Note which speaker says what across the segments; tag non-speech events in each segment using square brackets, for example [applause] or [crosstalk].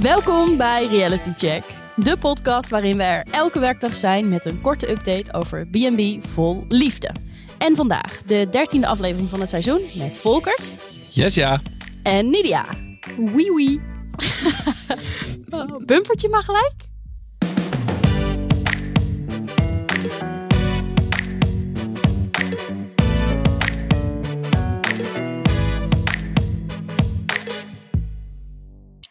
Speaker 1: Welkom bij Reality Check, de podcast waarin we er elke werkdag zijn met een korte update over B&B vol liefde. En vandaag de dertiende aflevering van het seizoen met Volkert
Speaker 2: Yes, ja.
Speaker 1: en Nidia. Wee wee. Bumpertje maar gelijk.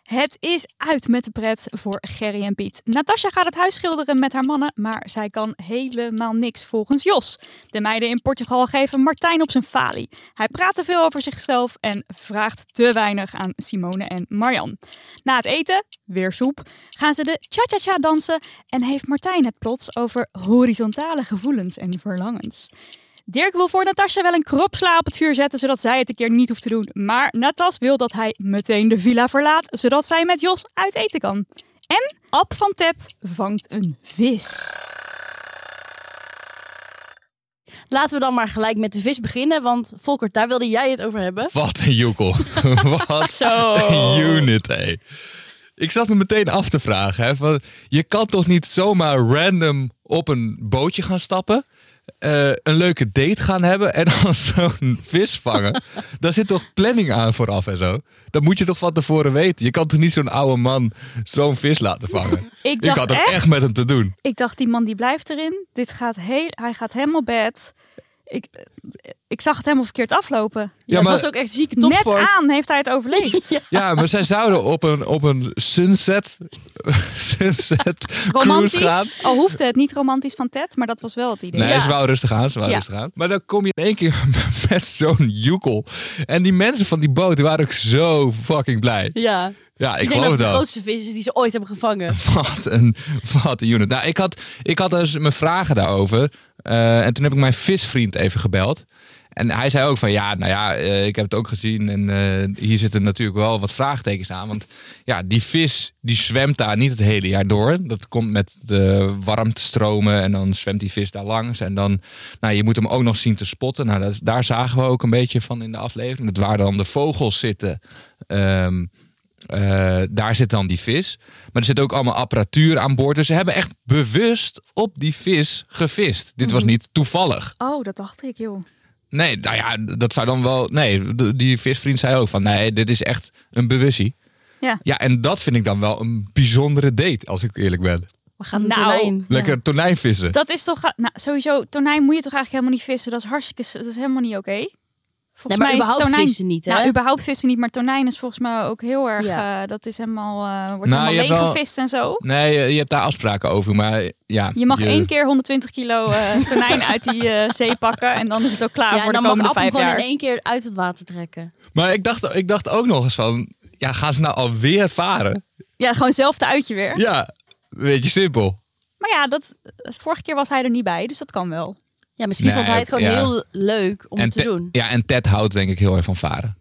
Speaker 3: Het is uit met de pret voor Gerry en Piet. Natasja gaat het huis schilderen met haar mannen, maar zij kan helemaal niks volgens Jos. De meiden in Portugal geven Martijn op zijn falie. Hij praat te veel over zichzelf en vraagt te weinig aan Simone en Marjan. Na het eten, weer soep, gaan ze de cha-cha-cha dansen en heeft Martijn het plots over horizontale gevoelens en verlangens. Dirk wil voor Natasja wel een kropsla op het vuur zetten, zodat zij het een keer niet hoeft te doen. Maar Natas wil dat hij meteen de villa verlaat, zodat zij met Jos uit eten kan. En Ab van Ted vangt een vis.
Speaker 1: Laten we dan maar gelijk met de vis beginnen, want Volkert, daar wilde jij het over hebben.
Speaker 2: Wat een joekel. [laughs] Wat
Speaker 1: Zo.
Speaker 2: een unit, hé. Ik zat me meteen af te vragen. Hè, van, je kan toch niet zomaar random op een bootje gaan stappen... eh, een leuke date gaan hebben en [laughs] dan zo'n vis vangen. Daar zit toch planning aan vooraf en zo? Dat moet je toch van tevoren weten? Je kan toch niet zo'n oude man zo'n vis laten vangen?
Speaker 3: [laughs] Ik
Speaker 2: Ik
Speaker 3: dacht
Speaker 2: had het
Speaker 3: echt,
Speaker 2: echt met hem te doen.
Speaker 3: ik dacht die man die blijft erin. Dit gaat heel, hij gaat helemaal bed. Ik, ik zag het helemaal verkeerd aflopen.
Speaker 1: Ja,
Speaker 2: maar-
Speaker 1: het was ook echt zieke topsport.
Speaker 3: Net aan heeft hij het [laughs] overleefd.
Speaker 1: Ja.
Speaker 2: Ja, maar zij zouden op een, op een sunset, [laughs] sunset cruise gaan.
Speaker 3: Romantisch, al hoefde het niet romantisch van Ted, maar dat was wel het idee.
Speaker 2: Nee,
Speaker 1: Ja.
Speaker 2: ze wou rustig aan, ze wou
Speaker 1: Ja.
Speaker 2: rustig aan. Maar dan kom je in één keer [laughs] met zo'n joekel. En die mensen van die boot, die waren ook zo fucking blij.
Speaker 1: Ja.
Speaker 2: Ja, ik
Speaker 1: denk dat
Speaker 2: geloof
Speaker 1: het de
Speaker 2: dat.
Speaker 1: grootste vis is die ze ooit hebben gevangen.
Speaker 2: [laughs] Wat een, wat een unit. Nou, ik had, ik had dus mijn vragen daarover. Eh, en toen heb ik mijn visvriend even gebeld. En hij zei ook van ja, nou ja, eh, ik heb het ook gezien. En eh, hier zitten natuurlijk wel wat vraagtekens aan. Want ja, die vis die zwemt daar niet het hele jaar door. Dat komt met de warmtestromen en dan zwemt die vis daar langs. En dan, nou, je moet hem ook nog zien te spotten. Nou, dat, daar zagen we ook een beetje van in de aflevering. Dat waar dan de vogels zitten, ehm, eh, daar zit dan die vis. Maar er zit ook allemaal apparatuur aan boord. Dus ze hebben echt bewust op die vis gevist. Dit
Speaker 3: Mhm.
Speaker 2: was niet toevallig.
Speaker 3: Oh, dat dacht ik, joh.
Speaker 2: Nee, nou ja, dat zou dan wel. Nee, de- die visvriend zei ook van nee, dit is echt een bewustie.
Speaker 3: Ja.
Speaker 2: Ja, en dat vind ik dan wel een bijzondere date, als ik eerlijk ben.
Speaker 1: We gaan
Speaker 3: Nou.
Speaker 1: nou.
Speaker 2: Lekker tonijn vissen.
Speaker 3: Dat is toch. Nou, sowieso, tonijn moet je toch eigenlijk helemaal niet vissen. Dat is hartstikke. Dat is helemaal niet oké.
Speaker 1: Nee,
Speaker 3: Volgens
Speaker 1: maar
Speaker 3: mij is
Speaker 1: überhaupt
Speaker 3: tonijn.
Speaker 1: vissen niet, hè?
Speaker 3: Nou, überhaupt vissen niet, maar tonijn is volgens mij ook heel erg.
Speaker 1: Ja.
Speaker 3: eh, dat is helemaal. eh, wordt
Speaker 2: Nou, je hebt
Speaker 3: helemaal
Speaker 2: wel-
Speaker 3: leeggevist en zo.
Speaker 2: Nee, je, je hebt daar afspraken over, maar ja.
Speaker 3: Je mag één keer 120 kilo eh, tonijn uit die eh, zee pakken. En dan is het ook klaar
Speaker 1: Ja,
Speaker 3: voor
Speaker 1: en dan
Speaker 3: de
Speaker 1: mag
Speaker 3: komende
Speaker 1: Appel
Speaker 3: vijf
Speaker 1: gewoon
Speaker 3: jaar.
Speaker 1: in één keer uit het water trekken.
Speaker 2: Maar ik dacht, ik dacht ook nog eens van, ja, gaan ze nou alweer varen?
Speaker 3: Ja, gewoon zelf de uitje weer.
Speaker 2: Ja, beetje simpel.
Speaker 3: Maar ja, dat, vorige keer was hij er niet bij, dus dat kan wel.
Speaker 1: Ja, misschien
Speaker 2: Nee,
Speaker 1: vond hij het gewoon
Speaker 2: ja.
Speaker 1: heel leuk om
Speaker 2: en
Speaker 1: het te
Speaker 2: Ted-
Speaker 1: doen.
Speaker 2: Ja, en Ted houdt denk ik heel erg van varen.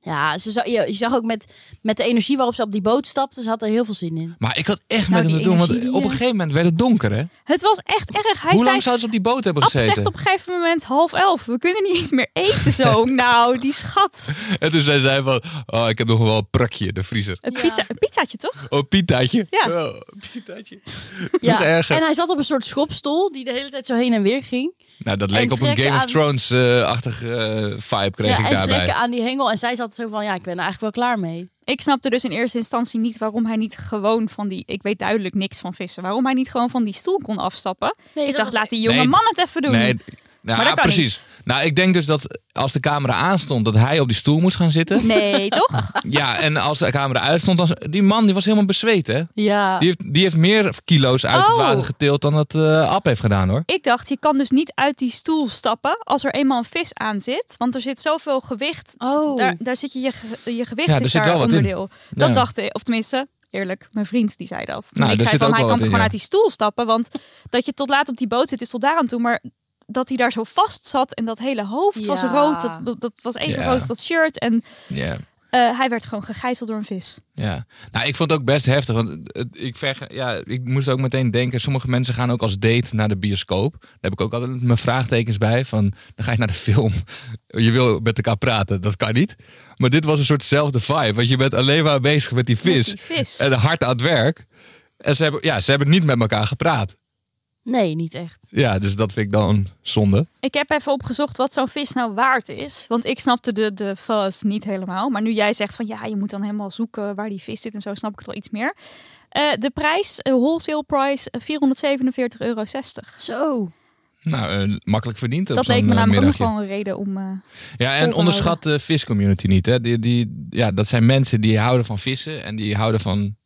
Speaker 1: Ja, ze zag, je, je zag ook met, met de energie waarop ze op die boot stapte, ze had er heel veel zin
Speaker 2: [laughs]
Speaker 1: in.
Speaker 2: Maar ik had echt met
Speaker 3: Nou,
Speaker 2: hem
Speaker 3: die
Speaker 2: te doen, want
Speaker 3: energie,
Speaker 2: op een
Speaker 3: eh.
Speaker 2: gegeven moment werd het donker, hè?
Speaker 3: Het was echt erg. Hij
Speaker 2: Hoe
Speaker 3: zei
Speaker 2: lang zouden ze op die boot hebben
Speaker 3: Ab
Speaker 2: gezeten?
Speaker 3: zegt op een gegeven moment half elf. We kunnen niet eens meer eten
Speaker 2: [laughs]
Speaker 3: zo. nou, die schat.
Speaker 2: En toen zei zij van, oh, ik heb nog wel een prakje in de vriezer.
Speaker 3: Een,
Speaker 1: Ja.
Speaker 3: pizza, een pizzaatje toch?
Speaker 2: Oh, pitaatje.
Speaker 3: Ja.
Speaker 2: Oh, pitaatje.
Speaker 1: Ja.
Speaker 2: is erg, hè?
Speaker 1: En hij zat op een soort schopstoel die de hele tijd zo heen en weer ging.
Speaker 2: Nou, dat
Speaker 1: En
Speaker 2: leek op een
Speaker 1: trekken
Speaker 2: Game of
Speaker 1: aan-
Speaker 2: Thrones-achtig eh, vibe kreeg
Speaker 1: ja,
Speaker 2: ik
Speaker 1: en trekken
Speaker 2: daarbij.
Speaker 1: aan die hengel. En zij zat zo van, ja, ik ben er eigenlijk wel klaar mee.
Speaker 3: Ik snapte dus in eerste instantie niet waarom hij niet gewoon van die... Ik weet duidelijk niks van vissen. Waarom hij niet gewoon van die stoel kon afstappen.
Speaker 1: Nee,
Speaker 3: ik
Speaker 1: dat
Speaker 3: dacht,
Speaker 1: was-
Speaker 3: laat die jonge
Speaker 2: Nee,
Speaker 3: man het even doen.
Speaker 2: Nee, nou,
Speaker 3: Maar dat kan
Speaker 2: precies. Nou, ik denk dus dat als de camera aanstond, dat hij op die stoel moest gaan
Speaker 3: [laughs]
Speaker 2: zitten. [laughs]
Speaker 3: Nee, toch?
Speaker 2: ja, en als de camera uitstond, dan... Die man, die was helemaal bezweet, hè?
Speaker 1: Ja.
Speaker 2: Die heeft, die heeft meer kilo's uit het
Speaker 3: Oh.
Speaker 2: water getild dan dat eh App heeft gedaan, hoor.
Speaker 3: Ik dacht, je kan dus niet uit die stoel stappen als er eenmaal een vis aan zit. Want er zit zoveel gewicht.
Speaker 1: Oh.
Speaker 3: Daar, daar zit je, je, ge- je gewicht
Speaker 2: Ja, er
Speaker 3: is
Speaker 2: zit
Speaker 3: daar
Speaker 2: wel wat in.
Speaker 3: onderdeel. Dat
Speaker 2: Ja.
Speaker 3: dacht ik, of tenminste, eerlijk, mijn vriend die zei dat. Toen
Speaker 2: Nou,
Speaker 3: ik
Speaker 2: daar
Speaker 3: zei
Speaker 2: zit ook
Speaker 3: van, hij
Speaker 2: wel
Speaker 3: kan
Speaker 2: wat in,
Speaker 3: toch gewoon
Speaker 2: ja.
Speaker 3: uit die stoel stappen. Want dat je tot laat op die boot zit, is tot daar aan toe. Maar dat hij daar zo vast zat en dat hele hoofd was
Speaker 1: Ja.
Speaker 3: rood. Dat, dat was even
Speaker 2: Ja.
Speaker 3: rood als dat shirt. En
Speaker 2: Ja.
Speaker 3: Eh, hij werd gewoon gegijzeld door een vis.
Speaker 2: Ja, nou, ik vond het ook best heftig. Want het- ik, verge- ja, ik moest ook meteen denken: sommige mensen gaan ook als date naar de bioscoop. Daar heb ik ook altijd mijn vraagtekens bij. Van dan ga je naar de film. Je wil met elkaar praten, dat kan niet. Maar dit was een soortzelfde vibe. Want je bent alleen maar bezig met die vis.
Speaker 3: Met die vis.
Speaker 2: En hard aan het werk. En ze hebben, ja, ze hebben niet met elkaar gepraat.
Speaker 1: Nee, niet echt.
Speaker 2: Ja, dus dat vind ik dan zonde.
Speaker 3: Ik heb even opgezocht wat zo'n vis nou waard is. Want ik snapte de, de fuzz niet helemaal. Maar nu jij zegt van ja, je moet dan helemaal zoeken waar die vis zit en zo, snap ik het wel iets meer. Eh, de prijs, eh, wholesale price, eh, 447,60 euro.
Speaker 1: Zo.
Speaker 2: Nou, eh, makkelijk verdiend. op
Speaker 3: Dat leek
Speaker 2: zo'n,
Speaker 3: me
Speaker 2: eh,
Speaker 3: namelijk ook nog
Speaker 2: middagje.
Speaker 3: wel een reden om... eh,
Speaker 2: Ja,
Speaker 3: vol
Speaker 2: en
Speaker 3: te
Speaker 2: onderschat de viscommunity niet. Hè? Die, die, ja, dat zijn mensen die houden van vissen en die houden van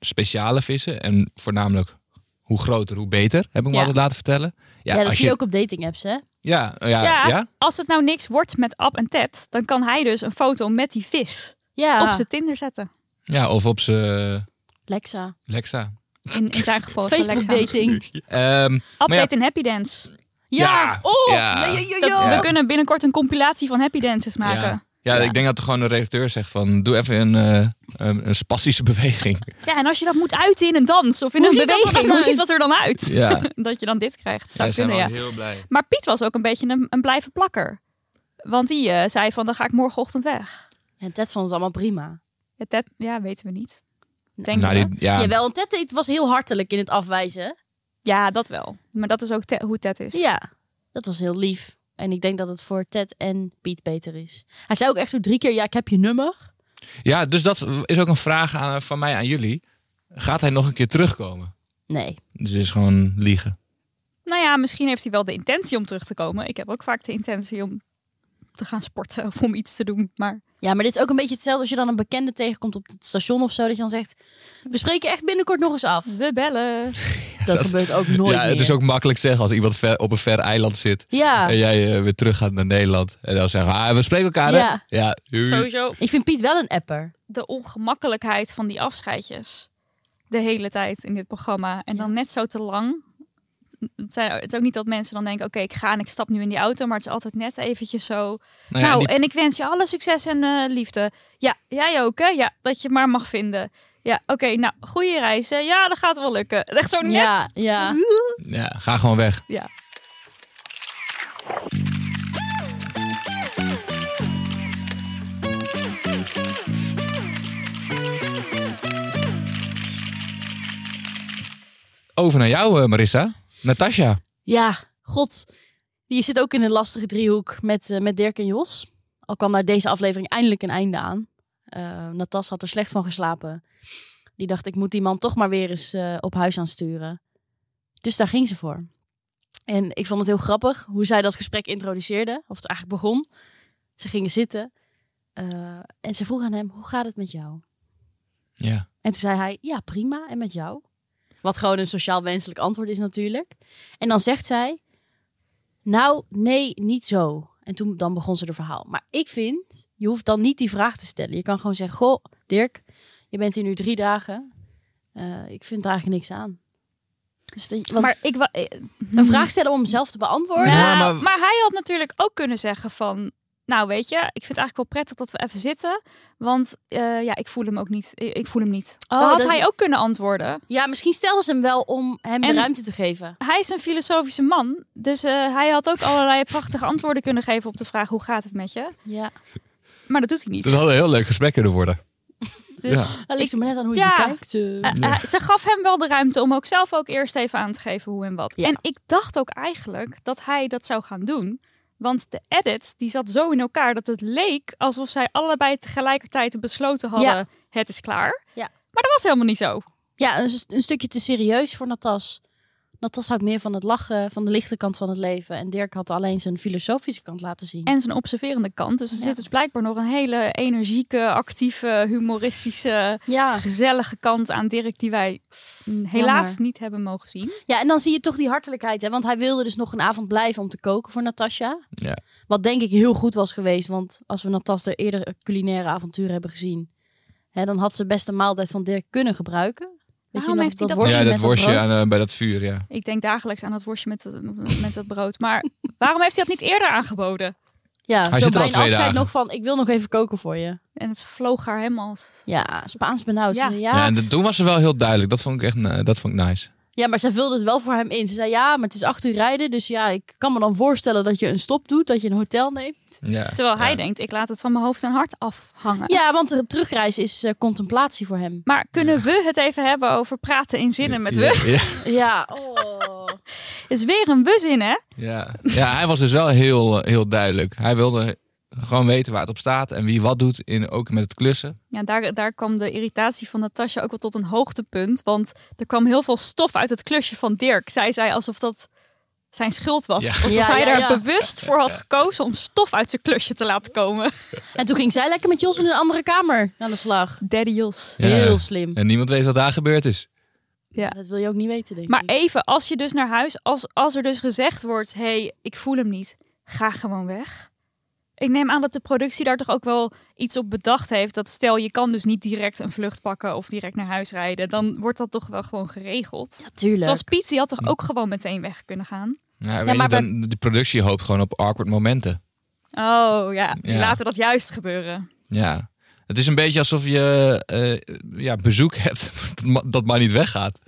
Speaker 2: speciale vissen. En voornamelijk hoe groter, hoe beter, heb ik me
Speaker 3: Ja.
Speaker 2: altijd laten vertellen.
Speaker 1: Ja, dat
Speaker 2: als
Speaker 1: zie je ook op dating apps, hè?
Speaker 2: Ja, oh ja, ja,
Speaker 3: ja, als het nou niks wordt met Ab en Ted, dan kan hij dus een foto met die vis
Speaker 1: Ja.
Speaker 3: op zijn Tinder zetten.
Speaker 2: Ja, of op zijn
Speaker 1: Lexa.
Speaker 2: Lexa.
Speaker 3: In, in zijn geval is
Speaker 1: Facebook
Speaker 2: [laughs]
Speaker 3: Alexa.
Speaker 1: dating.
Speaker 2: Ehm,
Speaker 3: Ab
Speaker 2: Maar ja.
Speaker 3: deed een happy dance.
Speaker 1: Ja.
Speaker 2: Ja.
Speaker 1: Oh.
Speaker 2: Ja.
Speaker 1: Ja, ja, ja,
Speaker 3: Dat,
Speaker 1: ja.
Speaker 3: We kunnen binnenkort een compilatie van happy dances maken.
Speaker 2: ja. Ja,
Speaker 3: Ja.
Speaker 2: ik denk dat er gewoon een redacteur zegt van... doe even een, eh, een, een spastische beweging.
Speaker 3: Ja, en als je dat moet uiten in een dans of in
Speaker 1: Hoe
Speaker 3: een
Speaker 1: ziet dat er
Speaker 3: beweging,
Speaker 1: dan
Speaker 3: hoe ziet
Speaker 1: uit?
Speaker 3: dat er dan uit?
Speaker 2: Ja,
Speaker 3: Dat je dan dit krijgt,
Speaker 2: zij
Speaker 3: zou
Speaker 2: zijn
Speaker 3: kunnen,
Speaker 2: wel
Speaker 3: ja.
Speaker 2: heel blij.
Speaker 3: Maar Piet was ook een beetje een, een blijven plakker. Want die eh, zei van, dan ga ik morgenochtend weg.
Speaker 1: En Ted vond het allemaal prima.
Speaker 3: Ja, Ted, ja weten we niet. Denk
Speaker 2: Nou,
Speaker 3: je?
Speaker 2: die- ja.
Speaker 1: Jawel, want Ted deed- was heel hartelijk in het afwijzen.
Speaker 3: Ja, dat wel. Maar dat is ook Ted- hoe Ted is.
Speaker 1: Ja. Dat was heel lief. En ik denk dat het voor Ted en Piet beter is. Hij zei ook echt zo drie keer, ja, ik heb je nummer.
Speaker 2: ja, dus dat is ook een vraag aan, van mij aan jullie. Gaat hij nog een keer terugkomen?
Speaker 1: Nee.
Speaker 2: Dus het is gewoon liegen.
Speaker 3: Nou ja, misschien heeft hij wel de intentie om terug te komen. Ik heb ook vaak de intentie om te gaan sporten of om iets te doen. Maar
Speaker 1: Ja, maar dit is ook een beetje hetzelfde als je dan een bekende tegenkomt op het station of zo. Dat je dan zegt, we spreken echt binnenkort nog eens
Speaker 2: [laughs]
Speaker 1: af.
Speaker 3: we bellen.
Speaker 1: Dat, gebeurt ook nooit
Speaker 2: ja, het
Speaker 1: meer.
Speaker 2: is ook makkelijk zeggen als iemand ver, op een ver eiland zit.
Speaker 1: Ja,
Speaker 2: En jij eh, weer terug gaat naar Nederland. En dan zeggen we, ah, we spreken elkaar. hè?
Speaker 1: Ja.
Speaker 2: ja doei.
Speaker 3: Sowieso
Speaker 1: ik vind Piet wel een apper.
Speaker 3: de ongemakkelijkheid van die afscheidjes. De hele tijd in dit programma. En dan net zo te lang. Het zijn- het is ook niet dat mensen dan denken, oké, ik ga en ik stap nu in die auto. Maar het is altijd net eventjes zo.
Speaker 2: Nou ja,
Speaker 3: nou,
Speaker 2: en die-
Speaker 3: en ik wens je alle succes en eh, liefde. Ja, jij ook, hè? Ja, dat je maar mag vinden. Ja, oké, nou, goede reis. hè? Ja, dat gaat wel lukken. Echt zo net.
Speaker 1: Ja, ja.
Speaker 2: ja, ga gewoon weg.
Speaker 3: Ja.
Speaker 2: Over naar jou, eh, Marissa. Natasja.
Speaker 1: Ja, god. Die zit ook in een lastige driehoek met, eh, met Dirk en Jos. Al kwam daar deze aflevering eindelijk een einde aan. Eh Natas had er slecht van geslapen. Die dacht, ik moet die man toch maar weer eens eh, op huis aansturen. Dus daar ging ze voor. En ik vond het heel grappig hoe zij dat gesprek introduceerde. Of het eigenlijk begon. Ze gingen zitten. eh, en ze vroeg aan hem, hoe gaat het met jou?
Speaker 2: Ja.
Speaker 1: En toen zei hij, ja prima, en met jou? Wat gewoon een sociaal wenselijk antwoord is natuurlijk. En dan zegt zij, nou nee, niet zo. En toen dan begon ze de verhaal. Maar ik vind, je hoeft dan niet die vraag te stellen. Je kan gewoon zeggen, goh Dirk, je bent hier nu drie dagen. Eh, ik vind er eigenlijk niks aan. Dus dat- want
Speaker 3: Maar ik... wa- eh,
Speaker 1: een vraag stellen om hem zelf te beantwoorden.
Speaker 2: Ja,
Speaker 3: Nou, maar...
Speaker 2: maar-
Speaker 3: hij had natuurlijk ook kunnen zeggen van... Nou, weet je, ik vind het eigenlijk wel prettig dat we even zitten. Want eh, ja, ik voel hem ook niet. Ik ik voel hem niet.
Speaker 1: Oh,
Speaker 3: Dan had
Speaker 1: dat-
Speaker 3: hij ook kunnen antwoorden.
Speaker 1: Ja, misschien stelden ze hem wel om hem de
Speaker 3: En-
Speaker 1: ruimte te geven.
Speaker 3: Hij is een filosofische man. Dus eh, hij had ook allerlei prachtige antwoorden kunnen geven op de vraag... hoe gaat het met je?
Speaker 1: Ja,
Speaker 3: Maar dat doet hij niet.
Speaker 2: Dat had een heel leuk gesprek kunnen worden.
Speaker 3: Dus
Speaker 1: dat ligt er maar net aan hoe je
Speaker 3: Ja.
Speaker 1: kijkt.
Speaker 3: Eh, eh, ze gaf hem wel de ruimte om ook zelf ook eerst even aan te geven hoe en wat.
Speaker 1: Ja.
Speaker 3: En ik dacht ook eigenlijk dat hij dat zou gaan doen. Want de edit die zat zo in elkaar dat het leek alsof zij allebei tegelijkertijd besloten hadden:
Speaker 1: Ja.
Speaker 3: het is klaar.
Speaker 1: Ja.
Speaker 3: Maar dat was helemaal niet zo.
Speaker 1: Ja, een, een stukje te serieus voor Natas. Natas houdt meer van het lachen, van de lichte kant van het leven. En Dirk had alleen zijn filosofische kant laten zien.
Speaker 3: En zijn observerende kant. Dus er
Speaker 1: Ja.
Speaker 3: zit dus blijkbaar nog een hele energieke, actieve, humoristische,
Speaker 1: ja.
Speaker 3: gezellige kant aan Dirk die wij mm, helaas niet hebben mogen zien.
Speaker 1: ja, en dan zie je toch die hartelijkheid. Hè? Want hij wilde dus nog een avond blijven om te koken voor Natasja.
Speaker 2: Ja.
Speaker 1: Wat denk ik heel goed was geweest. Want als we Natas er eerder culinaire avonturen hebben gezien... Hè, dan had ze best een maaltijd van Dirk kunnen gebruiken. Weet
Speaker 3: Waarom
Speaker 1: nog,
Speaker 3: heeft hij dat
Speaker 1: worstje
Speaker 2: ja,
Speaker 1: met
Speaker 2: dat worstje
Speaker 1: brood?
Speaker 2: aan, eh, bij dat vuur, ja.
Speaker 3: Ik denk dagelijks aan dat worstje met dat, met dat brood. Maar waarom heeft hij dat niet eerder aangeboden?
Speaker 1: Ja,
Speaker 2: Hij
Speaker 1: zo
Speaker 2: zit er
Speaker 1: bij
Speaker 2: al
Speaker 1: een
Speaker 2: twee
Speaker 1: afscheid
Speaker 2: dagen.
Speaker 1: nog van... ik wil nog even koken voor je.
Speaker 3: En het vloog haar helemaal. s-
Speaker 1: Ja, Spaans benauwd.
Speaker 3: Ja.
Speaker 1: Ze zei,
Speaker 2: Ja,
Speaker 1: ja.
Speaker 2: en dat- toen was ze wel heel duidelijk. Dat vond ik echt eh, dat vond ik nice.
Speaker 1: ja, maar zij vulde het wel voor hem in. Ze zei ja, maar het is acht uur rijden. Dus ja, ik kan me dan voorstellen dat je een stop doet. Dat je een hotel neemt.
Speaker 2: Ja.
Speaker 3: Terwijl hij
Speaker 2: Ja.
Speaker 3: denkt, ik laat het van mijn hoofd en hart afhangen.
Speaker 1: Ja, want de terugreis is eh, contemplatie voor hem.
Speaker 3: Maar kunnen we het even hebben over praten in zinnen met we?
Speaker 2: Ja, ja.
Speaker 1: [laughs] Ja, oh.
Speaker 3: Is weer een we-zin, hè?
Speaker 2: Ja. ja, hij was dus wel heel, eh, heel duidelijk. Hij wilde gewoon weten waar het op staat en wie wat doet, in, ook met het klussen.
Speaker 3: Ja, daar, daar kwam de irritatie van Natasja ook wel tot een hoogtepunt. Want er kwam heel veel stof uit het klusje van Dirk. Zij zei alsof dat zijn schuld was.
Speaker 2: Ja.
Speaker 3: Alsof
Speaker 1: Ja,
Speaker 3: hij
Speaker 1: ja,
Speaker 3: daar
Speaker 1: ja.
Speaker 3: bewust voor had gekozen om stof uit zijn klusje te laten komen.
Speaker 1: En toen ging zij lekker met Jos in een andere kamer aan de slag.
Speaker 3: Daddy Jos.
Speaker 2: Ja.
Speaker 1: Heel slim.
Speaker 2: En niemand weet wat daar gebeurd is.
Speaker 1: Dat wil je ook niet weten, denk ik.
Speaker 3: Maar even, als je dus naar huis, als, als er dus gezegd wordt: hé, hey, ik voel hem niet, ga gewoon weg. Ik neem aan dat de productie daar toch ook wel iets op bedacht heeft. Dat stel je kan dus niet direct een vlucht pakken of direct naar huis rijden. Dan wordt dat toch wel gewoon geregeld.
Speaker 1: Tuurlijk.
Speaker 3: Zoals Piet, die had toch ook gewoon meteen weg kunnen gaan?
Speaker 2: Ja, weet je,
Speaker 1: maar bij-
Speaker 2: dan, De productie hoopt gewoon op awkward momenten.
Speaker 3: Oh ja, die
Speaker 2: Ja.
Speaker 3: laten dat juist gebeuren.
Speaker 2: Ja. Het is een beetje alsof je eh, ja, bezoek hebt [laughs] dat ma- dat maar niet weggaat.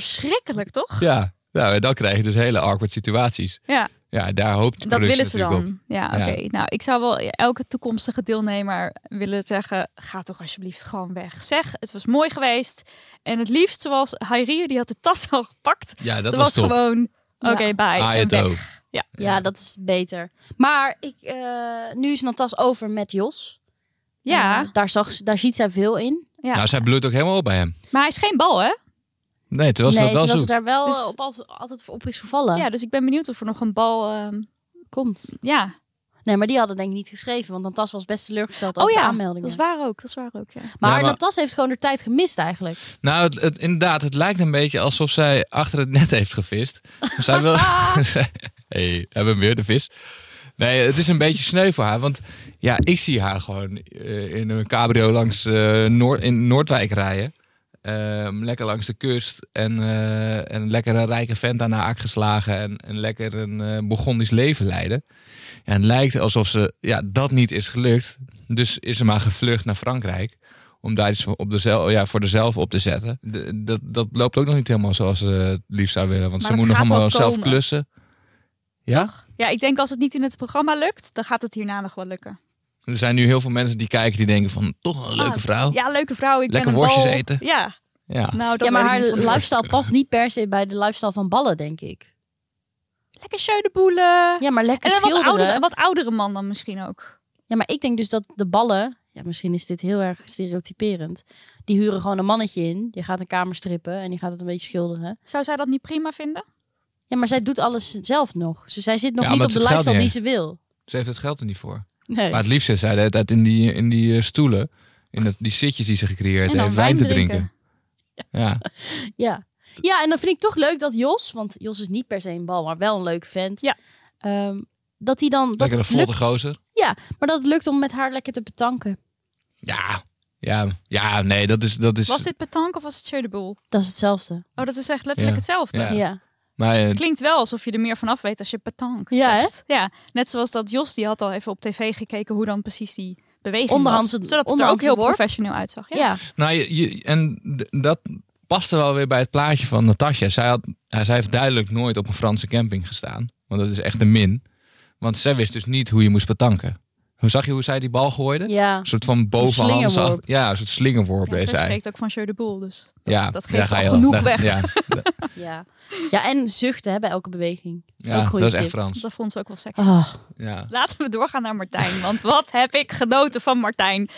Speaker 3: Verschrikkelijk, toch?
Speaker 2: Ja. Nou, en dan krijg je dus hele awkward situaties.
Speaker 3: Ja,
Speaker 2: Ja, daar hoopt de
Speaker 3: dat
Speaker 2: productie
Speaker 3: willen ze
Speaker 2: natuurlijk op.
Speaker 3: dan. Ja, oké.
Speaker 2: Ja.
Speaker 3: Nou, ik zou wel elke toekomstige deelnemer willen zeggen... ga toch alsjeblieft gewoon weg. Zeg, het was mooi geweest. En het liefst zoals Hairier, die had de tas al gepakt.
Speaker 2: Ja, dat,
Speaker 3: Dat,
Speaker 2: was,
Speaker 3: was,
Speaker 2: top.
Speaker 3: gewoon, oké,
Speaker 1: Ja.
Speaker 3: bye.
Speaker 2: Ah,
Speaker 3: en
Speaker 2: het
Speaker 3: weg.
Speaker 2: ook.
Speaker 1: Ja, dat is beter. Maar ik, eh, nu is Natas over met Jos.
Speaker 3: Ja,
Speaker 1: Eh, daar, zag, ze- daar ziet zij veel in.
Speaker 3: Ja.
Speaker 2: Nou, zij bloedt ook helemaal op bij hem.
Speaker 3: maar hij is geen bal, hè?
Speaker 2: Nee, terwijl ze
Speaker 1: nee,
Speaker 2: dat wel
Speaker 1: terwijl ze
Speaker 2: zoet.
Speaker 1: daar wel
Speaker 3: Dus-
Speaker 1: eh, op altijd, altijd op is gevallen.
Speaker 3: Ja, dus ik ben benieuwd of er nog een bal... ehm,
Speaker 1: Komt.
Speaker 3: ja.
Speaker 1: Nee, maar die hadden denk ik niet geschreven. Want Natas was best teleurgesteld
Speaker 3: Oh
Speaker 1: over de
Speaker 3: ja, dat
Speaker 1: aanmeldingen.
Speaker 3: is waar ook. Dat is waar ook, ja.
Speaker 1: Maar,
Speaker 2: Ja, maar-
Speaker 1: Natas heeft gewoon de tijd gemist eigenlijk.
Speaker 2: Nou, het, het- inderdaad, het lijkt een beetje alsof zij achter het net heeft gevist. Zij wil... Zij- hey, hebben we weer de vis. Nee, het is een beetje sneu voor haar. Want ja, ik zie haar gewoon eh, in een cabrio langs eh, Noord, in Noordwijk rijden. Ehm, lekker langs de kust. En, eh, en lekker een rijke vent aan de haak geslagen. En, en lekker een eh Bourgondisch leven leiden. En het lijkt alsof ze ja, dat niet is gelukt. Dus is ze maar gevlucht naar Frankrijk om daar iets voor- op de zel, ja, voor dezelf op te zetten. De- dat, dat loopt ook nog niet helemaal zoals ze het liefst zou willen. Want
Speaker 3: Maar
Speaker 2: ze
Speaker 3: dat
Speaker 2: moet nog
Speaker 3: gaat wel
Speaker 2: allemaal zelf
Speaker 3: komen.
Speaker 2: klussen. Ja?
Speaker 3: Toch? Ja, ik denk als het niet in het programma lukt, dan gaat het hierna nog wel lukken.
Speaker 2: Er zijn nu heel veel mensen die kijken die denken van... toch wel een leuke
Speaker 1: Ah,
Speaker 2: vrouw. Ja.
Speaker 3: Ja, leuke vrouw. Ik
Speaker 2: Oh. Lekker
Speaker 3: ben een
Speaker 2: worstjes
Speaker 3: bal.
Speaker 2: eten. Ah.
Speaker 3: Ja, nou,
Speaker 1: ja,
Speaker 3: dat
Speaker 1: maar
Speaker 3: weet ik
Speaker 1: haar
Speaker 3: niet, want-
Speaker 1: lifestyle past niet per se bij de lifestyle van ballen, denk ik.
Speaker 3: Lekker scheudenboelen.
Speaker 1: Ja, maar lekker
Speaker 3: En een wat
Speaker 1: schilderen.
Speaker 3: oudere, wat oudere man dan misschien ook.
Speaker 1: Ja, maar ik denk dus dat de ballen... Ja, misschien is dit heel erg stereotyperend. Die huren gewoon een mannetje in. Die gaat een kamer strippen en die gaat het een beetje schilderen.
Speaker 3: Zou zij dat niet prima vinden?
Speaker 1: Ja, maar zij doet alles zelf nog. Dus zij zit nog
Speaker 2: Ja,
Speaker 1: niet
Speaker 2: maar
Speaker 1: op de
Speaker 2: het geldt
Speaker 1: lifestyle die
Speaker 2: niet
Speaker 1: ze wil.
Speaker 2: Ze heeft het geld er niet voor.
Speaker 1: Nee.
Speaker 2: Maar het liefst zit zij de hele tijd in die, in die eh, stoelen. In dat, die zitjes die ze gecreëerd
Speaker 3: En dan
Speaker 2: heeft. Wijn te
Speaker 3: wijn
Speaker 2: drinken.
Speaker 3: drinken.
Speaker 2: Ja.
Speaker 1: Ja. ja, en dan vind ik toch leuk dat Jos... Want Jos is niet per se een bal, maar wel een leuk vent.
Speaker 3: Ja.
Speaker 1: Ehm, dat hij dan... Dat
Speaker 2: Lekker een
Speaker 1: het
Speaker 2: vlotte
Speaker 1: lukt.
Speaker 2: gozer.
Speaker 1: Maar dat het lukt om met haar lekker te betanken.
Speaker 2: Ja. Ja, ja nee, dat is... Dat is
Speaker 3: Was dit petank of was het scheudenboel?
Speaker 1: Dat is hetzelfde.
Speaker 3: Oh, dat is echt letterlijk
Speaker 2: Ja.
Speaker 3: hetzelfde.
Speaker 2: Ja.
Speaker 1: Ja. Ja,
Speaker 2: maar, eh,
Speaker 3: Het klinkt wel alsof je er meer van af weet als je petank
Speaker 1: Ja, hè?
Speaker 3: zegt. Ja, net zoals dat Jos, die had al even op tv gekeken hoe dan precies die beweging
Speaker 1: Onderhandse-
Speaker 3: was. Zodat het er ook
Speaker 1: onderhandse
Speaker 3: heel
Speaker 1: worp.
Speaker 3: professioneel uitzag. Ja.
Speaker 2: Nou, je, je- en d- dat paste wel weer bij het plaatje van Natasja. Zij, had, ja, zij heeft duidelijk nooit op een Franse camping gestaan. Want dat is echt een min. Want zij wist dus niet hoe je moest betanken. Hoe zag je hoe zij die bal gooide?
Speaker 1: ja.
Speaker 2: Een soort van bovenhand.
Speaker 1: slingerworp.
Speaker 2: Ja, een soort slingerworp
Speaker 3: Ja,
Speaker 2: deed
Speaker 3: zij
Speaker 2: zij.
Speaker 3: spreekt ook van scheudenboel, dus dat,
Speaker 2: Ja,
Speaker 3: dat
Speaker 2: daar
Speaker 3: geeft
Speaker 2: ga
Speaker 3: al
Speaker 2: je al.
Speaker 3: genoeg
Speaker 2: Daar-
Speaker 3: [laughs] weg.
Speaker 2: Ja,
Speaker 1: Ja. ja, en zuchten hè, bij elke beweging.
Speaker 2: ja,
Speaker 1: Ook goede
Speaker 2: dat is echt
Speaker 1: tip.
Speaker 2: Frans.
Speaker 3: Dat vond ze ook wel sexy.
Speaker 1: Oh.
Speaker 2: Ja.
Speaker 3: Laten we doorgaan naar Martijn. Want wat heb ik genoten van Martijn?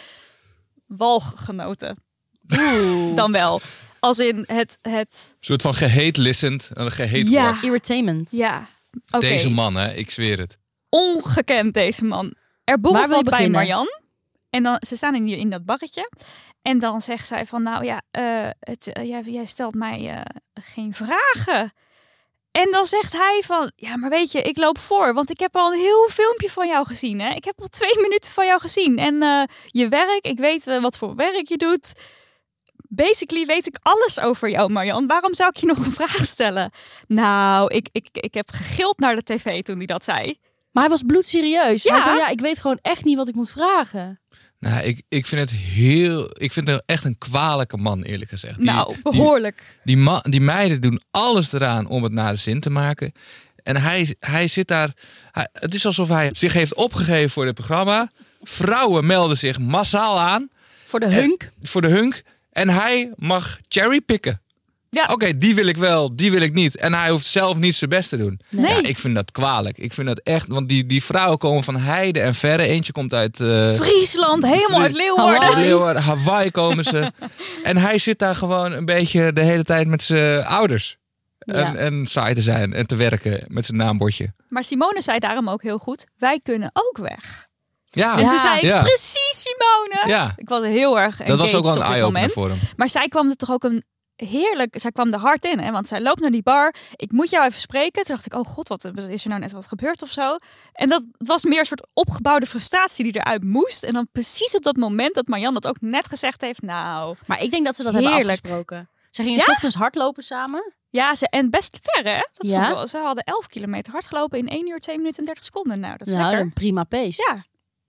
Speaker 3: Walg genoten. Dan wel. Als in het. het
Speaker 2: Een soort van geheetlissend. Een geheet
Speaker 3: Ja.
Speaker 2: woord.
Speaker 1: Irritatement.
Speaker 3: ja, oké.
Speaker 2: Deze man, hè, ik zweer het.
Speaker 3: Ongekend, deze man. Er boelt
Speaker 1: Waar wil je
Speaker 3: wat bij
Speaker 1: beginnen?
Speaker 3: Marjan. En dan, ze staan in, die- in dat barretje. En dan zegt zij van, nou ja, eh, het, eh, jij, jij stelt mij eh, geen vragen. En dan zegt hij van, ja, maar weet je, ik loop voor. Want ik heb al een heel filmpje van jou gezien. Hè? Ik heb al twee [laughs] minuten van jou gezien. En eh, je werk, ik weet eh, wat voor werk je doet. Basically weet ik alles over jou, Marjan. Waarom zou ik je nog een vraag stellen? Nou, ik, ik, ik heb gegild naar de tv toen hij dat zei.
Speaker 1: Maar hij was bloedserieus.
Speaker 3: Ja.
Speaker 1: Hij zei, ja, ik weet gewoon echt niet wat ik moet vragen.
Speaker 2: Nou, ik, ik vind het heel. Ik vind het echt een kwalijke man, eerlijk gezegd. Die-
Speaker 3: nou,
Speaker 2: die,
Speaker 3: behoorlijk.
Speaker 2: Die, ma- die meiden doen alles eraan om het naar de zin te maken. En hij, hij zit daar. hij- het is alsof hij zich heeft opgegeven voor dit programma. Vrouwen melden zich massaal aan
Speaker 1: Voor de hunk.
Speaker 2: voor de hunk. En hij mag cherrypicken.
Speaker 3: Ja.
Speaker 2: Oké, die wil ik wel, die wil ik niet. En hij hoeft zelf niet zijn best te doen.
Speaker 3: Nee.
Speaker 2: Ja, ik vind dat kwalijk. Ik vind dat echt. Want die, die vrouwen komen van heide en verre. Eentje komt uit. eh,
Speaker 3: Friesland, helemaal uit Leeuwarden.
Speaker 1: Hallo.
Speaker 2: uit Leeuwarden, Hawaii komen
Speaker 3: [laughs]
Speaker 2: ze. en hij zit daar gewoon een beetje de hele tijd met zijn ouders.
Speaker 1: Ja.
Speaker 2: En, en saai te zijn en te werken met zijn naambordje.
Speaker 3: Maar Simone zei daarom ook heel goed, wij kunnen ook weg.
Speaker 2: Ja,
Speaker 3: En
Speaker 2: ja.
Speaker 3: toen zei ik,
Speaker 2: Ah. Ja.
Speaker 3: precies Simone! Ik was heel erg
Speaker 2: dat was ook
Speaker 3: engaged
Speaker 2: wel een
Speaker 3: op dit
Speaker 2: eye-opener
Speaker 3: moment.
Speaker 2: voor hem.
Speaker 3: Maar zij kwam er toch ook een heerlijk... Zij kwam er hard in, hè? Want zij loopt naar die bar. Ik moet jou even spreken. Toen dacht ik, oh god, wat is er nou net wat gebeurd of zo? En dat was meer een soort opgebouwde frustratie die eruit moest. En dan precies op dat moment dat Marjan dat ook net gezegd heeft. Nou,
Speaker 1: Maar ik denk dat ze dat hebben
Speaker 3: Heerlijk.
Speaker 1: afgesproken. Ze gingen 's ochtends hardlopen samen.
Speaker 3: ja, ze, en best ver, hè? Dat
Speaker 1: Ja.
Speaker 3: vond ik wel- ze hadden 11 kilometer hardgelopen in 1 uur, 2 minuten en 30 seconden. Nou, dat is
Speaker 1: Nou,
Speaker 3: lekker.
Speaker 1: een prima pace.
Speaker 3: Ja,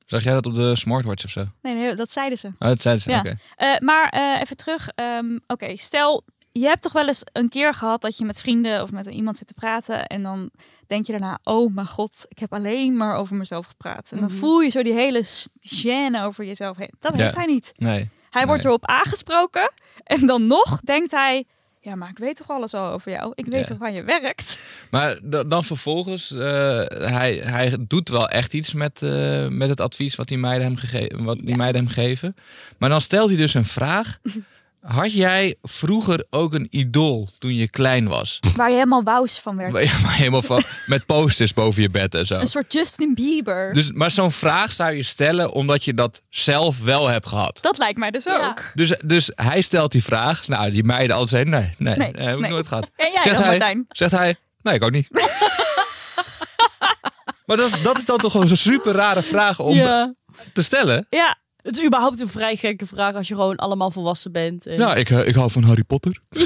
Speaker 2: Zag jij dat op de smartwatch of zo? Oh,
Speaker 3: nee, nee, dat zeiden ze.
Speaker 2: dat zeiden ze.
Speaker 3: Ja.
Speaker 2: oké.
Speaker 3: Eh, maar eh, even terug. ehm, Oké, stel, je hebt toch wel eens een keer gehad dat je met vrienden of met iemand zit te praten. En dan denk je daarna, oh mijn god, ik heb alleen maar over mezelf gepraat. En dan
Speaker 1: Mhm.
Speaker 3: voel je zo die hele s- gêne over jezelf heen. Dat
Speaker 2: Ja.
Speaker 3: heeft hij niet.
Speaker 2: Nee.
Speaker 3: Hij wordt
Speaker 2: Nee.
Speaker 3: erop aangesproken en dan nog denkt hij... Ja, maar ik weet toch alles al over jou? Ik weet
Speaker 2: Ja.
Speaker 3: toch waar je werkt?
Speaker 2: Maar da- dan vervolgens, eh, hij, hij doet wel echt iets met, eh, met het advies wat die, meiden hem gege- wat die meiden hem geven. Maar dan stelt hij dus een
Speaker 3: [laughs]
Speaker 2: vraag. Had jij vroeger ook een idool toen je klein was?
Speaker 3: Waar je helemaal wous van werd.
Speaker 2: Ja, maar helemaal
Speaker 3: [laughs]
Speaker 2: van, met posters boven je bed en zo.
Speaker 3: Een soort Justin Bieber.
Speaker 2: Oh. Dus, maar zo'n vraag zou je stellen omdat je dat zelf wel hebt gehad.
Speaker 3: Dat lijkt mij dus
Speaker 1: Ja.
Speaker 3: ook.
Speaker 2: Dus, dus hij stelt die vraag. Nou, die meiden altijd zeggen, nee, nee,
Speaker 3: Nee,
Speaker 2: nee, heb ik
Speaker 3: nee.
Speaker 2: nooit gehad.
Speaker 3: En jij
Speaker 2: Zegt
Speaker 3: dan,
Speaker 2: hij-
Speaker 3: [laughs] Martijn?
Speaker 2: Zegt hij, nee, ik ook
Speaker 3: [laughs]
Speaker 2: niet. maar dat, dat is dan toch gewoon zo'n super rare vraag om te stellen.
Speaker 3: Ja,
Speaker 1: Het is überhaupt een vrij gekke vraag als je gewoon allemaal volwassen bent. En...
Speaker 2: Nou, ik, eh, ik hou van Harry Potter.
Speaker 3: nou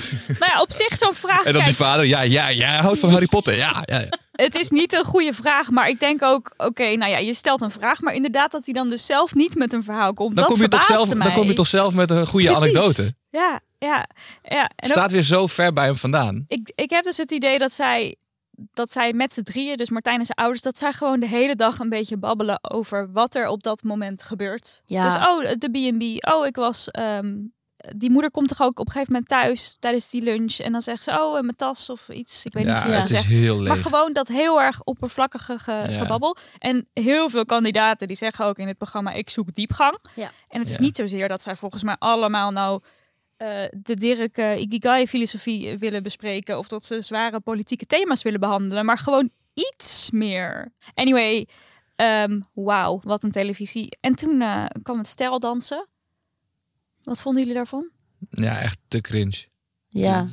Speaker 3: ja, op zich zo'n vraag.
Speaker 2: En dan
Speaker 3: kijk,
Speaker 2: die vader, ja, ja, jij houdt van Harry Potter. Ja, ja, ja.
Speaker 3: Het is niet een goede vraag, maar ik denk ook, oké, nou ja, je stelt een vraag, maar inderdaad dat hij dan dus zelf niet met een verhaal komt.
Speaker 2: Dan,
Speaker 3: dat
Speaker 2: kom je toch
Speaker 3: verbaasde
Speaker 2: zelf,
Speaker 3: mij.
Speaker 2: dan kom je toch zelf met een goede
Speaker 3: Precies.
Speaker 2: anekdote.
Speaker 3: Ja, ja, ja. En ook-
Speaker 2: Staat weer zo ver bij hem vandaan.
Speaker 3: ik, ik heb dus het idee dat zij, dat zij met z'n drieën, dus Martijn en zijn ouders, dat zij gewoon de hele dag een beetje babbelen over wat er op dat moment gebeurt.
Speaker 1: Ja.
Speaker 3: Dus oh, de B&B, oh, ik was... ehm, die moeder komt toch ook op een gegeven moment thuis tijdens die lunch en dan zegt ze, oh, en mijn tas of iets. Ik weet
Speaker 2: ja,
Speaker 3: niet precies wat
Speaker 2: het
Speaker 3: ze
Speaker 2: is heel leeg.
Speaker 3: Maar gewoon dat heel erg oppervlakkige ge-
Speaker 2: Ja.
Speaker 3: gebabbel. En heel veel kandidaten die zeggen ook in het programma: ik zoek diepgang.
Speaker 1: Ja.
Speaker 3: En het is
Speaker 2: Ja.
Speaker 3: niet zozeer dat zij volgens mij allemaal nou eh, de Dirk eh, Ikigai-filosofie willen bespreken. Of dat ze zware politieke thema's willen behandelen. Maar gewoon iets meer. Anyway, ehm, wauw, wat een televisie. En toen eh, kwam het stijl dansen. Wat vonden jullie daarvan?
Speaker 2: Ja, echt te cringe.
Speaker 1: ja.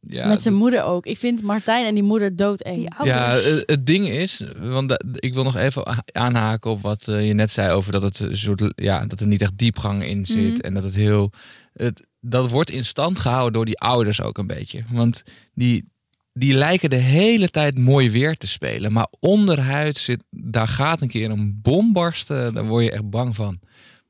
Speaker 2: Ja,
Speaker 1: met zijn moeder ook. Ik vind Martijn en die moeder doodeng.
Speaker 3: Die
Speaker 2: Ja,
Speaker 3: ouders.
Speaker 2: eh, het ding is, want da- ik wil nog even a- aanhaken op wat eh, je net zei over dat het een soort, ja, dat er niet echt diepgang in zit
Speaker 3: Mhm.
Speaker 2: en dat het heel, het, dat wordt in stand gehouden door die ouders ook een beetje, want die die lijken de hele tijd mooi weer te spelen, maar onderhuid zit, daar gaat een keer een bom barsten, daar word je echt bang van.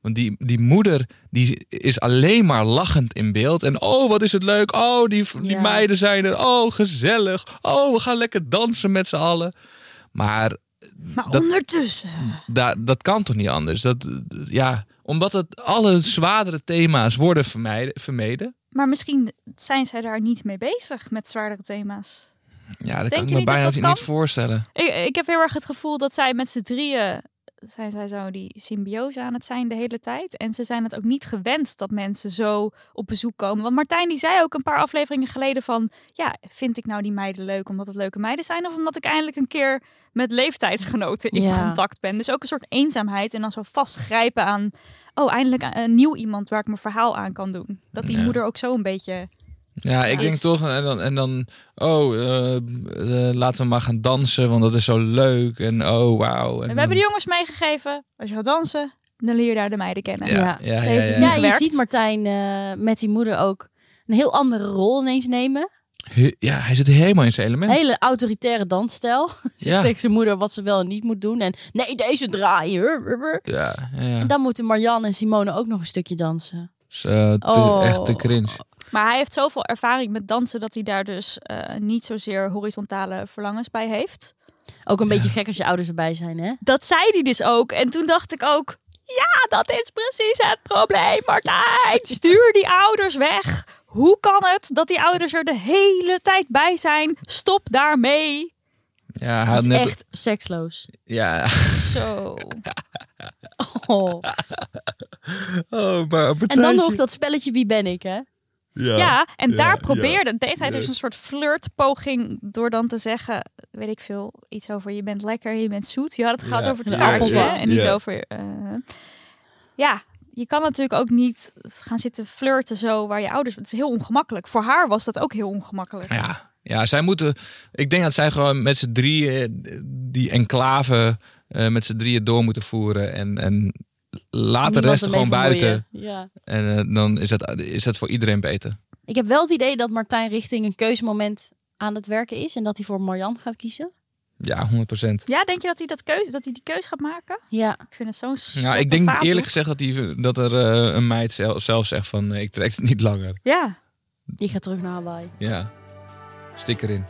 Speaker 2: Want die, die moeder die is alleen maar lachend in beeld. En oh, wat is het leuk. Oh, die, die
Speaker 1: Ja.
Speaker 2: meiden zijn er. Oh, gezellig. Oh, we gaan lekker dansen met z'n allen. Maar
Speaker 3: maar
Speaker 2: dat-
Speaker 3: ondertussen.
Speaker 2: da, dat kan toch niet anders? Dat, eh, ja, omdat het, alle zwaardere thema's worden vermijden, vermeden.
Speaker 3: Maar misschien zijn zij daar niet mee bezig met zwaardere thema's.
Speaker 2: Ja, dat
Speaker 3: je
Speaker 2: kan ik
Speaker 3: niet
Speaker 2: me
Speaker 3: dat
Speaker 2: bijna
Speaker 3: dat
Speaker 2: niet
Speaker 3: kan?
Speaker 2: niet voorstellen.
Speaker 3: Ik, ik heb heel erg het gevoel dat zij met z'n drieën zijn zij zo die symbiose aan het zijn de hele tijd. En ze zijn het ook niet gewend dat mensen zo op bezoek komen. Want Martijn die zei ook een paar afleveringen geleden van... ja, vind ik nou die meiden leuk omdat het leuke meiden zijn... of omdat ik eindelijk een keer met leeftijdsgenoten in
Speaker 1: Ja.
Speaker 3: contact ben. Dus ook een soort eenzaamheid en dan zo vastgrijpen aan... oh, eindelijk een nieuw iemand waar ik mijn verhaal aan kan doen. Dat die
Speaker 2: Ja.
Speaker 3: moeder ook zo een beetje...
Speaker 2: Ja, ik
Speaker 3: Ja.
Speaker 2: denk
Speaker 3: Is-
Speaker 2: toch, en dan, en dan oh, eh, eh, laten we maar gaan dansen, want dat is zo leuk. En oh, wauw.
Speaker 3: En we hebben de jongens meegegeven, als je gaat dansen... dan leer je daar de meiden kennen.
Speaker 1: Ja.
Speaker 2: ja, ja, ja,
Speaker 3: heeft dus
Speaker 2: ja,
Speaker 3: niet
Speaker 1: Ja,
Speaker 2: ja.
Speaker 1: je
Speaker 3: gewerkt.
Speaker 1: ziet Martijn eh, met die moeder ook een heel andere rol ineens nemen.
Speaker 2: He- ja, hij zit helemaal in zijn element.
Speaker 1: Hele autoritaire dansstijl. [laughs] Zegt
Speaker 2: Ja.
Speaker 1: tegen zijn moeder wat ze wel en niet moet doen. En nee, deze draai. Hur, hur, hur.
Speaker 2: Ja, ja, ja.
Speaker 1: En dan moeten Marianne en Simone ook nog een stukje dansen.
Speaker 2: Is, eh, te-
Speaker 1: Oh.
Speaker 2: Echt te cringe.
Speaker 3: Maar hij heeft zoveel ervaring met dansen dat hij daar dus eh, niet zozeer horizontale verlangens bij heeft.
Speaker 1: Ook een beetje gek als je ouders erbij zijn, hè?
Speaker 3: Dat zei hij dus ook. En toen dacht ik ook, ja, dat is precies het probleem, Martijn. Stuur die ouders weg. Hoe kan het dat die ouders er de hele tijd bij zijn? Stop daarmee.
Speaker 2: Ja, hij
Speaker 1: Dat
Speaker 2: had
Speaker 1: is
Speaker 2: net...
Speaker 1: echt seksloos.
Speaker 2: [laughs] Ja.
Speaker 3: Zo.
Speaker 1: Oh.
Speaker 2: Oh, maar
Speaker 1: En dan nog dat spelletje Wie ben ik, hè?
Speaker 2: Ja.
Speaker 3: Ja, en
Speaker 2: ja,
Speaker 3: daar
Speaker 2: ja,
Speaker 3: probeerde, deed hij
Speaker 2: ja.
Speaker 3: dus een soort flirtpoging door dan te zeggen, weet ik veel, iets over je bent lekker, je bent zoet. Je had het gehad
Speaker 2: Ja,
Speaker 3: over de
Speaker 1: ja,
Speaker 3: aardappels
Speaker 1: ja,
Speaker 3: hè, en niet
Speaker 2: ja.
Speaker 3: over... eh, ja, je kan natuurlijk ook niet gaan zitten flirten zo waar je ouders... Het is heel ongemakkelijk. Voor haar was dat ook heel ongemakkelijk.
Speaker 2: Ja. ja, zij moeten... Ik denk dat zij gewoon met z'n drieën die enclave eh, met z'n drieën door moeten voeren. En, en laat de
Speaker 1: Niemand
Speaker 2: rest er
Speaker 1: ermee
Speaker 2: gewoon buiten.
Speaker 1: vermoeien. Ja.
Speaker 2: En eh, dan is dat, is dat voor iedereen beter.
Speaker 1: Ik heb wel het idee dat Martijn richting een keuzemoment aan het werken is. En dat hij voor Marianne gaat kiezen.
Speaker 2: Ja, 100 procent.
Speaker 3: Ja, denk je dat hij, dat, keuze, dat hij die keus gaat maken?
Speaker 1: Ja.
Speaker 3: Ik vind het zo'n
Speaker 2: Ja,
Speaker 3: slotte
Speaker 2: Nou, ik denk
Speaker 3: vaatdoek.
Speaker 2: eerlijk gezegd dat, die, dat er eh, een meid zelf, zelf zegt van eh, ik trek het niet langer.
Speaker 3: Ja,
Speaker 1: Die gaat terug naar Hawaii.
Speaker 2: Ja, stik erin.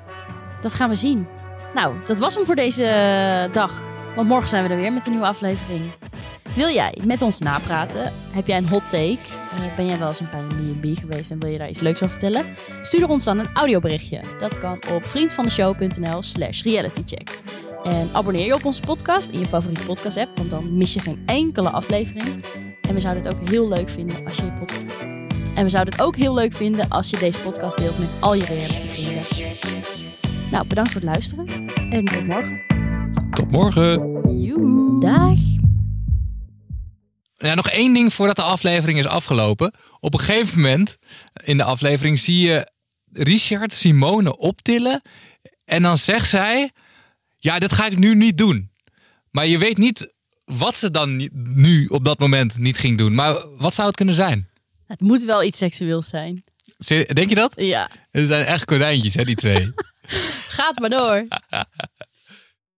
Speaker 1: Dat gaan we zien. Nou, dat was hem voor deze eh, dag. Want morgen zijn we er weer met een nieuwe aflevering. Wil jij met ons napraten? Heb jij een hot take? Eh, ben jij wel eens een paar in B&B geweest en wil je daar iets leuks over vertellen? Stuur ons dan een audioberichtje. Dat kan op vriendvandeshow.nl slash realitycheck. En abonneer je op onze podcast in je favoriete podcast app, want dan mis je geen enkele aflevering. En we zouden het ook heel leuk vinden als je je podcast... En we zouden het ook heel leuk vinden als je deze podcast deelt met al je reality vrienden. Nou, bedankt voor het luisteren en tot morgen.
Speaker 2: Tot morgen.
Speaker 1: Dag.
Speaker 2: Ja, nog één ding voordat de aflevering is afgelopen. Op een gegeven moment in de aflevering zie je Richard Simone optillen. En dan zegt zij: Ja, dat ga ik nu niet doen. Maar je weet niet wat ze dan ni- nu op dat moment niet ging doen. Maar wat zou het kunnen zijn?
Speaker 1: Het moet wel iets seksueels zijn.
Speaker 2: Ser- Denk je dat?
Speaker 1: Ja.
Speaker 2: Er zijn echt konijntjes, hè, die twee.
Speaker 1: Gaat maar door.